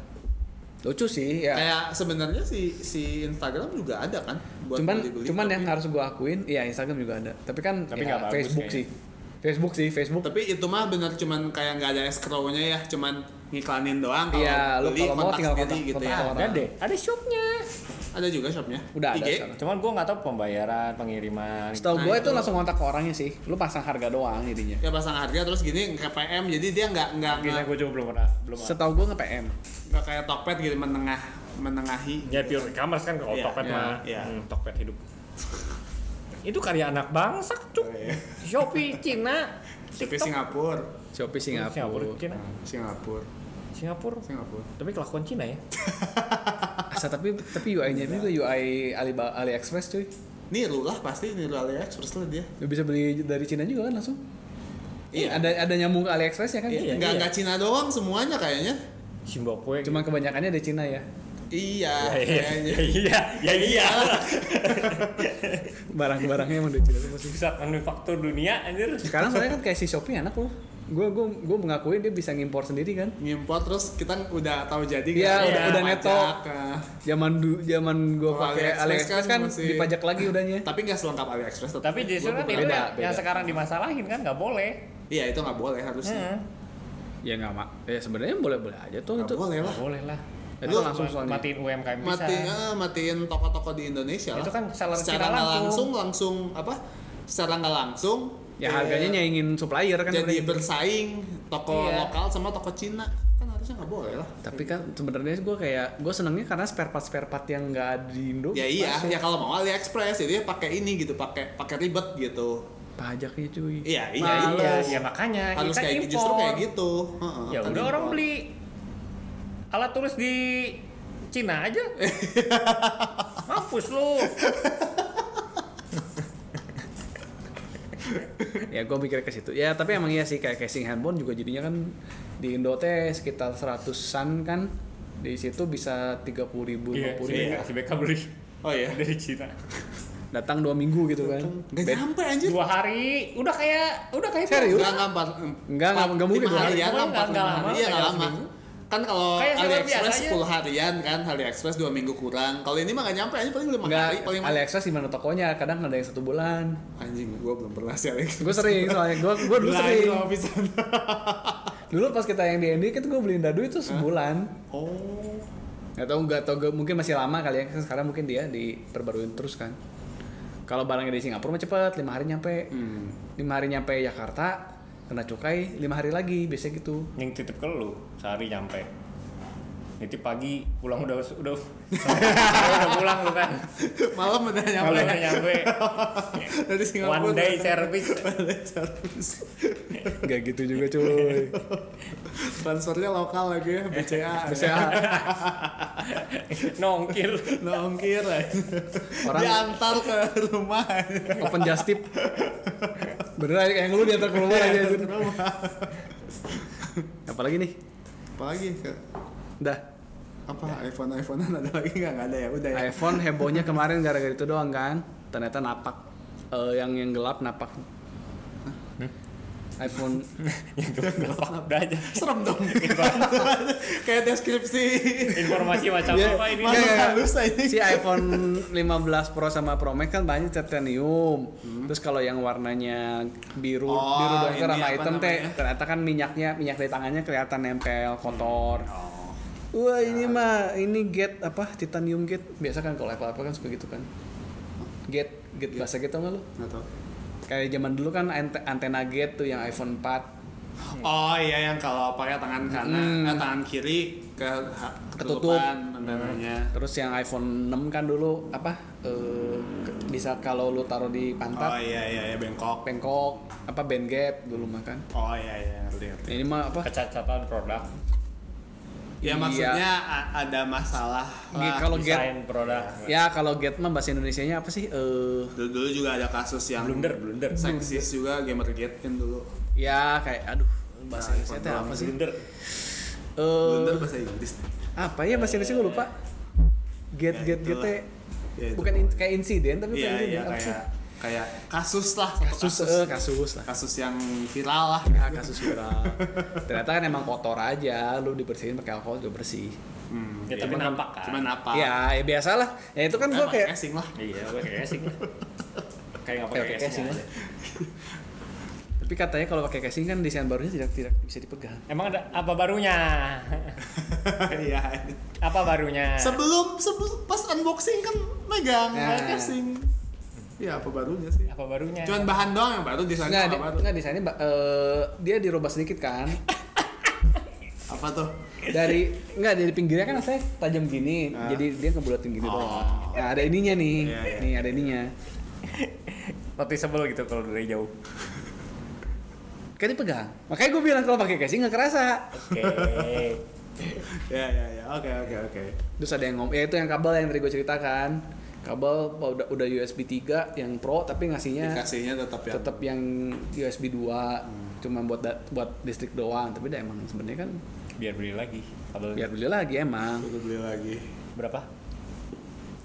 lucu sih ya
Kayak sebenarnya si si Instagram juga ada kan buat
cuman
beli-beli.
cuman
tapi,
yang harus gua akuin ya Instagram juga ada tapi kan
Tapi
ya,
nggak bagus
Facebook
kayaknya.
sih Facebook sih Facebook
tapi itu mah bener cuman kayak nggak ada escrow-nya ya, cuman ngiklanin doang kalau
Iya, lu
beli
kalau mau
kontak
tinggal
sendiri
kontak-
gitu
kontak
ya.
sama
Ada deh, ada shopnya.
Ada juga shopnya.
udah ada
IG?
sekarang
Cuman gua nggak tahu pembayaran, pengiriman.
setahu
Nah,
gua
itu.
itu langsung kontak ke orangnya sih lu pasang harga doang jadinya
Ya pasang harga terus gini ke PM jadi dia nggak nggak
Gila
nggak-
gua juga belum pernah belum. ada.
setahu gua nge PM
nggak kayak Tokped gitu menengah menengahi
Ya pure e-commerce kan kalau
Iya,
Tokped
iya,
mah
iya.
hmm, Tokped hidup. Itu karya anak bangsa, Cuk. Shopee Cina.
tapi
TikTok.
Singapura
Shopee
Singapura,
Singapura
Cina.
Singapura
Singapura.
Singapura
Tapi kelakuan Cina ya.
Asa, tapi tapi UI-nya itu UI Alibaba AliExpress cuy
niru lah pasti niru AliExpress lah dia
Lu bisa beli dari Cina juga kan langsung
Iya.
ada ada nyambung ke AliExpress ya kan
Iya.
nggak nggak Cina doang semuanya kayaknya
Zimbabwe.
Cuman kebanyakannya dari Cina ya.
iya
Ya, iya,
kayaknya
ya, iya, ya, iya.
Barang-barangnya emang dari Cina tuh pasti.
Pusat manufaktur dunia anjir.
Sekarang soalnya kan kayak si Shopee enak loh. Gue gue gue mengakui dia bisa ngimpor sendiri kan.
ngimpor terus kita udah tahu jadi
Iya,
udah- udah
neto.
pajak, nah.
Zaman du, zaman gue
Kalau
pakai
AliExpress
Oh, AliExpress
kan
kan,
masih-
dipajak lagi udahnya.
tapi nggak selengkap AliExpress tetap.
Tapi justru
Gua
kan
bukan-
itu
Beda,
yang,
beda.
yang sekarang dimasalahin kan nggak boleh.
Iya itu nggak boleh harusnya.
Heeh.
ya nggak mak ya sebenarnya boleh boleh aja tuh
Nggak
itu
boleh lah.
Nggak boleh lah.
itu
Lu
langsung soalnya
matiin UMKM bisa.
Matiin, eh, matiin toko-toko di Indonesia lah.
Itu kan seller
secara
secara
nggak langsung langsung
langsung.
apa? Secara nggak langsung.
ya
eh,
harganya nyaingin supplier kan
jadi
sebenarnya.
bersaing toko
Iya.
lokal sama toko Cina kan harusnya nggak boleh lah.
tapi kan sebenarnya gue kayak gue senengnya karena spare part spare part yang nggak ada di Indo
Ya iya, ya kalau mau AliExpress jadi pakai ini gitu, pakai pakai ribet gitu.
pajaknya ya, cuy
Iya, iya,
Nah,
itu.
iya, iya, makanya
harus
kita
kayak
impor.
justru kayak gitu. Heeh,
Ya
kan
udah
impor.
orang beli alat tulis di Cina aja. Mampus lu.
ya gue mikir ke situ ya tapi emang iya sih kayak casing handphone juga jadinya kan di Indo teh sekitar 100-an kan di situ bisa 30.000 puluh ribu
Iya, si Beka, si Beka beli
Oh iya.
dari Cina.
datang dua minggu gitu kan
Gak
Bed-
nyampe anjir.
Dua hari, udah kayak udah kayak
Serius?
Enggak enggak empat.
Enggak, enggak, enggak mungkin
lima
dua
hari.
harian lah,
Cuman
empat
enggak
lima
lama,
hari. Iya enggak
kayak
lama.
seminggu.
Kan kalau
Kayak server
AliExpress
biasa aja.
10 harian kan, AliExpress 2 minggu kurang. Kalau ini mah enggak nyampe aja paling 5
Enggak,
hari, paling
AliExpress di mana tokonya kadang ada yang satu bulan
anjing gua belum pernah sih AliExpress.
gue sering soalnya gue gue dulu
Gila,
sering
gila, pisan.
dulu pas kita yang di Andy kan gue beliin dadu itu sebulan
Oh.
nggak tahu nggak tahu gua- mungkin masih lama kali ya sekarang mungkin dia diperbaruin terus kan kalau barangnya di Singapura mah cepet lima hari nyampe
Hmm.
lima hari nyampe Jakarta kena cukai lima hari lagi biasanya gitu
Yang titip ke lu sehari nyampe. Nitip pagi pulang udah udah udah pulang lu kan.
Malam udah nyampe.
Kalau udah nyampe
Dari Singapura.
one day service.
nggak gitu juga cuy
Transfernya lokal lagi ya, BCA.
bisa
Nongkir.
Nongkir aja.
Orang-
Diantar ke rumah aja.
open just tip beneran yang lu diantar ke rumah aja
Diantar
gitu.
ke rumah.
apalagi nih
Apalagi ke
udah
apa iPhone iPhonean ada lagi nggak nggak ada ya udah ya.
iPhone hebohnya kemarin gara-gara itu doang kan ternyata napak Eh, yang yang gelap napak iPhone
udah aja.
serem dong kayak deskripsi
Informasi macam
Iya,
apa ini?
iya,
Masuk
iya.
halus aja.
si iPhone 15 Pro sama Pro Max kan banyak titanium terus kalau yang warnanya biru
Hmm. Oh,
biru dongker
ini
sama
apa
hitam teh
namanya? Hmm.
ternyata kan minyaknya minyak dari tangannya kelihatan nempel kotor
Oh.
Wah
Ya.
ini mah ini gate apa titanium gate biasa kan kalau Apple Apple kan suka gitu kan gate gate
Ya.
bahasa gate tau nggak lu
Nggak tahu.
kayak zaman dulu kan ante- antena gate tuh yang iPhone 4
oh iya yang kalau pakai tangan kanan
Hmm.
eh, tangan kiri ke ha-
Ketutup.
ketutupan antenanya
terus yang iPhone 6 kan dulu apa eh, ke- bisa kalau lu taruh di
oh
pantat
iya iya iya bengkok
pengkok apa band gap dulu mah kan Nah,
oh iya iya ngerti ngerti
ini mah apa
Kecacatan produk.
ya
Iya.
maksudnya a- ada masalah
Gi-
lah.
kalau gate
Desain produk.
ya kalau gate mah bahasa Indonesianya apa sih eh
dulu, dulu juga ada kasus yang
Blunder, blunder.
seksis juga gamergate kan dulu
ya kayak aduh bahasa
Nah,
Indonesia teh
iPhone
apa sih
Blunder.
eh
blunder bahasa Inggris
apa ya bahasa Indonesia gue lupa gate
Ya,
gate gate
itulah.
teh.
Ya, itu
bukan in- kayak insiden tapi
iya
kayak
iya
apa sih?
kayak kayak kasus lah satu
kasus eh, kasus lah
kasus yang viral lah
ya kasus viral ternyata kan emang kotor aja lu dibersihin pakai alkohol juga bersih
Hmm,
Ya, tapi nampak kan.
Cuman apa?
ya, ya biasa lah ya itu kan
Nah,
gue
pakai
kayak
casing lah.
Iya, gue kayak casing lah. Kayak nggak
Kayak
pakai
pakai
casing
casing
aja.
tapi katanya kalau pakai casing kan desain barunya tidak tidak bisa dipegang
Emang ada apa barunya?
Iya.
apa barunya?
sebelum sebelum pas unboxing kan megang
Nah.
pakai casing. Ya apa barunya sih?
apa barunya?
Cuman bahan doang yang baru desainnya
Nggak,
apa
di-
baru?
nggak desainnya ba- eh, dia dirubah sedikit kan
Apa tuh?
dari nggak dari pinggirnya kan saya tajam gini
Ah.
jadi dia ngebulatin gini
Oh.
doang nah ada ininya nih
Iya, iya.
nih ada ininya
Noticeable gitu kalau dari jauh.
kan dipegang makanya gue bilang kalau pakai casing nggak kerasa
Oke.
Ya ya ya. Oke oke oke.
terus ada yang ngomong ya itu yang kabel yang tadi gue ceritakan kabel udah udah USB 3 yang pro tapi ngasihnya
Dikasihnya tetap
Iya.
ya. Hmm.
tetap yang USB 2 cuma buat da- buat listrik doang tapi dah emang sebenarnya kan
Biar beli lagi. Kabel
biar beli lagi emang
Udah beli lagi.
berapa?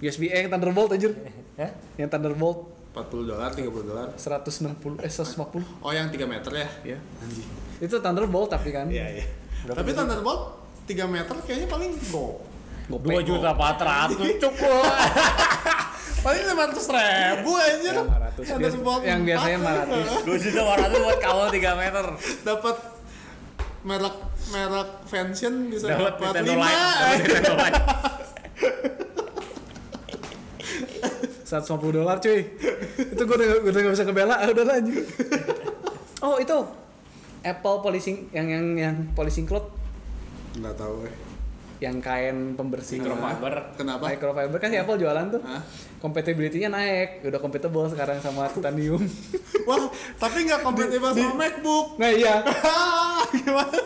USB eh yang Thunderbolt anjir
Hah?
yang Thunderbolt
40 dolar, 30 dolar.
160 eh 150
Oh yang 3 meter ya?
ya
Anjing.
itu Thunderbolt tapi kan
Iya iya. Tapi Thunderbolt 3 meter kayaknya paling go.
Gope.
Dua juta empat ratus cukup.
Paling 500 ribu anjir.
500. Yang biasanya 500.
Gue juta warna tuh buat kawal 3 meter.
Dapat merek merek fashion bisa
Dapat
dapat eh.
Nintendo Lite. Dapat
5.
Nintendo Lite.
150 dolar cuy itu gue udah, gua udah gak bisa ngebela ah, udah lah, anjing oh itu Apple polishing yang yang yang polishing cloth
Enggak tahu eh.
yang kain pembersih
Microfiber.
Kenapa?
microfiber kan si Apple jualan tuh
Hah?
compatibility-nya naik udah compatible sekarang sama titanium
Wah, tapi nggak kompatibel sama MacBook.
nah iya
Ah, Gimana?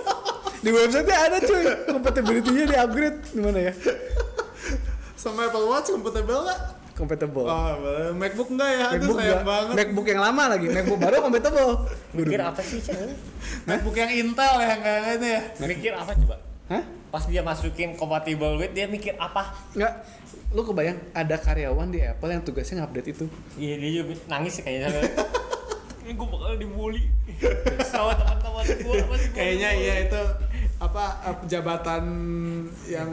di website-nya ada cuy compatibility-nya di upgrade gimana ya
Sama Apple Watch kompatibel nggak?
compatible
Ah, boleh. MacBook nggak ya? Aduh, sayang
nggak-
banget.
Oh. MacBook yang lama lagi MacBook baru compatible
Mikir apa sih, Cek?
MacBook yang Intel ya, nggak ada ya?
Mikir apa coba?
hah
Pas dia masukin compatible with, dia mikir apa?
nggak lu kebayang ada karyawan di Apple yang tugasnya update itu
Iya dia juga nangis sih kayaknya sambil, Ini gue bakal dibully sama teman-teman gue
Kayaknya iya itu apa eh, jabatan yang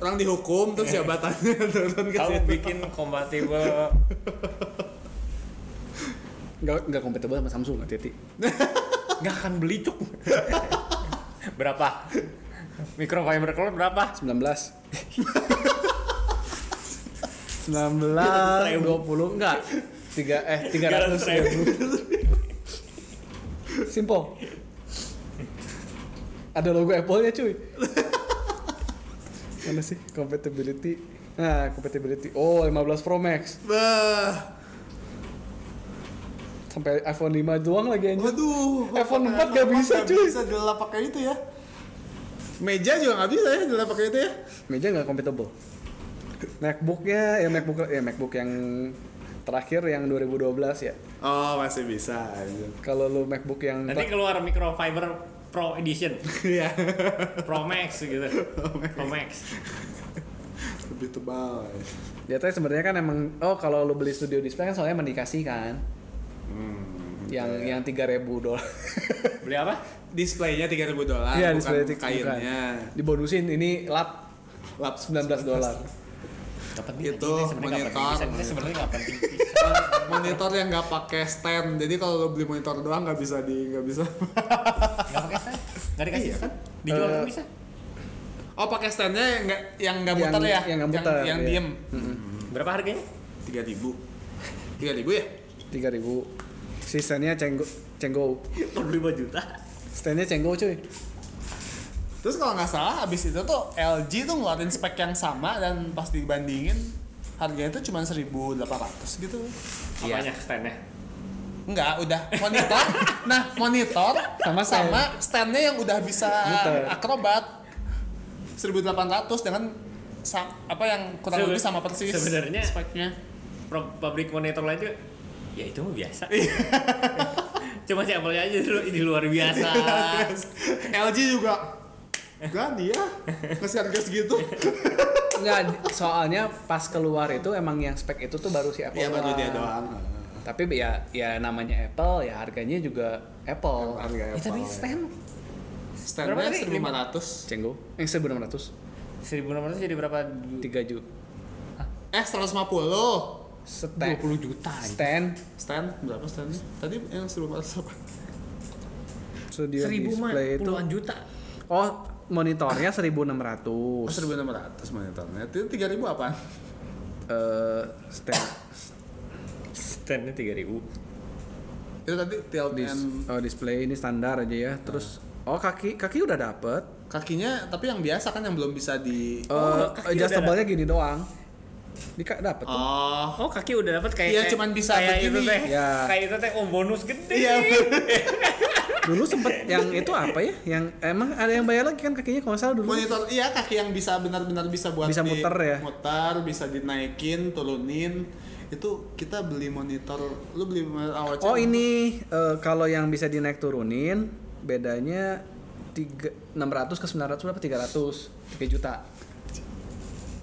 orang dihukum terus jabatannya turun ke
Kamu
situ.
bikin compatible
nggak nggak compatible sama Samsung nggak titik
nggak akan beli cuk berapa microfiber cloth berapa
19 19 20 enggak 3 eh 300 ribu simple ada logo Apple-nya cuy mana sih compatibility nah compatibility oh 15 Pro Max
Bah,
sampai iPhone 5 doang lagi anjir
waduh.
iPhone 4 nggak bisa, cuy.
Bisa dilap pakai itu ya. Meja juga nggak bisa ya dilap pakai itu ya.
meja nggak compatible MacBook-nya ya MacBook ya MacBook yang terakhir yang 2012 ya
Oh masih bisa.
kalau lu MacBook yang
nanti keluar microfiber Pro Edition,
Iya.
Pro Max gitu, Pro Max.
Lebih tebal.
Ya tapi sebenarnya kan emang oh kalau lu beli studio display kan soalnya mendikasi kan.
Hmm,
yang
iya,
yang 3000 dolar.
Beli apa?
Displaynya 3000 dolar,
Iya,
Ah, bukan
display tik-
kainnya.
bukan. Dibonusin ini lap
Lap
19 dolar.
Dapat
Itu monitor.
Ini sebenarnya nggak penting.
monitor yang nggak pakai stand jadi kalau lo beli monitor doang nggak bisa di nggak bisa
Nggak pakai stand, nggak dikasih
Iya.
stand. Dijual
Eh,
nggak bisa.
oh pakai standnya yang nggak yang nggak
Yang-
muter ya
yang nggak muter,
yang,
iya.
diem
Berapa harganya?
tiga ribu tiga ribu ya
3000. Si stand-nya cenggo cenggo.
45 juta.
Stand-nya cenggo cuy.
terus kalau nggak salah abis itu tuh LG tuh ngeluarin spek yang sama dan pas dibandingin harganya tuh cuma 1.800 gitu
Iya.
Apanya standnya?
Enggak, udah monitor. nah, monitor
Sama
sama
stand.
sama standnya yang udah bisa
Muter.
akrobat 1800 dengan sa- apa yang kurang
Sebe-
lebih sama persis
sebenarnya-
speknya.
Pro- Pabrik monitor lain juga, ya itu mah biasa.
Iya.
Cuma si Apple aja dulu ini luar biasa.
LG juga ya, Gak dia ngasih harga segitu
Enggak, soalnya pas keluar itu emang yang spek itu tuh baru si Apple.
Iya baru
doang.
dia doang
Tapi ya ya namanya Apple ya harganya juga Apple.
Harga
Ya, tapi stand
Standnya
Berapa tadi?
1500
Cenggo. Eh 1600.
1600 jadi berapa?
3 juta.
Eh 150
Stand.
20 juta aja.
Stand.
Stand berapa standnya? Tadi yang 1400 apa?
Studio
Seribu mah,
display itu
puluhan juta.
Oh, monitornya 1600.
Oh,
Eh
1600 monitornya Itu 3000 apaan?
Eh, stand
Standnya 3000.
Itu tadi TLDN
dis- oh, display ini standar aja ya. Terus oh kaki kaki udah dapet.
kakinya tapi yang biasa kan yang belum bisa di
Eh
Oh, kaki
adjustable-nya gini doang. Ini kak dapet. tuh.
oh
Oh kaki udah dapat kayak
Iya,
kayak-
cuman bisa
kayak itu
begini.
teh.
Ya.
Kayak itu teh oh bonus gede.
Iya.
Dulu sempet yang itu apa ya? Yang emang ada yang bayar lagi kan kakinya kalau nggak salah dulu.
monitor iya kaki yang bisa benar-benar bisa buat
Bisa
di-
muter ya?
muter bisa dinaikin turunin itu kita beli monitor lu beli monitor awal
Oh ini eh, kalau yang bisa dinaik turunin bedanya tiga, 600 ke 900 berapa? 300 3 juta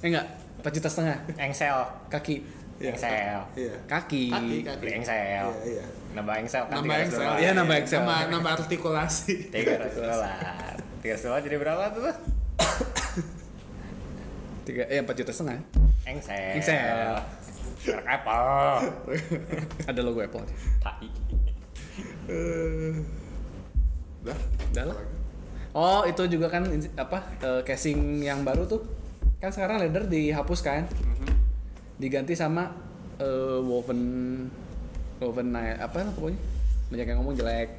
Eh enggak 4 juta setengah
Engsel.
kaki
Iya.
Engsel.
iya
kaki,
kaki kaki
Beli engsel.
iya iya
Nambah engsel kan
nambah
300
engsel
dolar.
Iya, nambah engsel.
nambah, nambah artikulasi
300 dolar. 300 dolar jadi berapa tuh? tuh?
tiga eh 4 juta setengah
Engsel.
Engsel.
Merek Apple.
Ada logo Apple.
Tai.
Eh, dah
Udah lah. Oh, itu juga kan in- apa eh, casing yang baru tuh. Kan sekarang leather dihapus kan? Diganti sama eh, woven woven ni- apa lah pokoknya. Banyak yang ngomong jelek.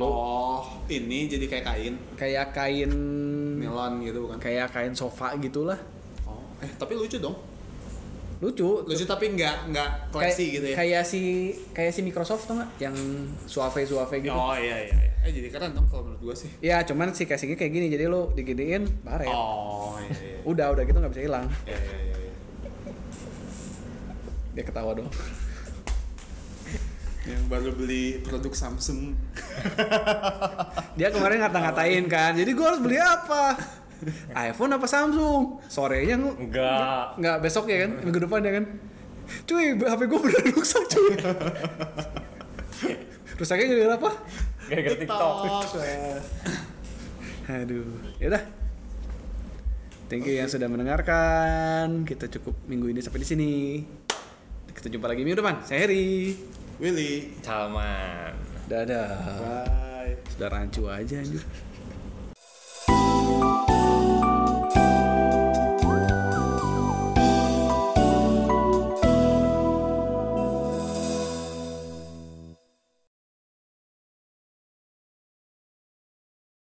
Lo
oh ini jadi kayak kain
kayak kain
nilon gitu bukan
kayak kain sofa gitulah.
oh eh tapi lucu dong
Lucu.
lucu tapi nggak nggak
Kayak-
classy gitu ya
Kayak si kayak si Microsoft tuh nggak yang suave-suave gitu.
oh iya iya iya. eh jadi keren dong kalau menurut gua sih
Ya, cuman si casingnya kayak gini. Jadi lo digedein baret.
oh iya iya
Udah, udah gitu nggak bisa hilang.
iya iya iya, iya.
Dia ketawa dong.
yang baru beli produk Samsung
Dia kemarin ngata-ngatain kan. Jadi gue harus beli apa? iPhone apa Samsung? Sorenya nggak
Enggak.
nggak besok ya kan? Minggu depan ya kan? Cuy, HP gue beneran rusak cuy. Rusaknya gara-gara apa?
Gara-gara TikTok.
eh.
Aduh, yaudah. Thank you yang sudah mendengarkan. Kita cukup minggu ini sampai di sini. Kita jumpa lagi minggu depan. Saya Heri.
Willy
Salman.
Dadah.
bye
Sudah rancu aja anjir.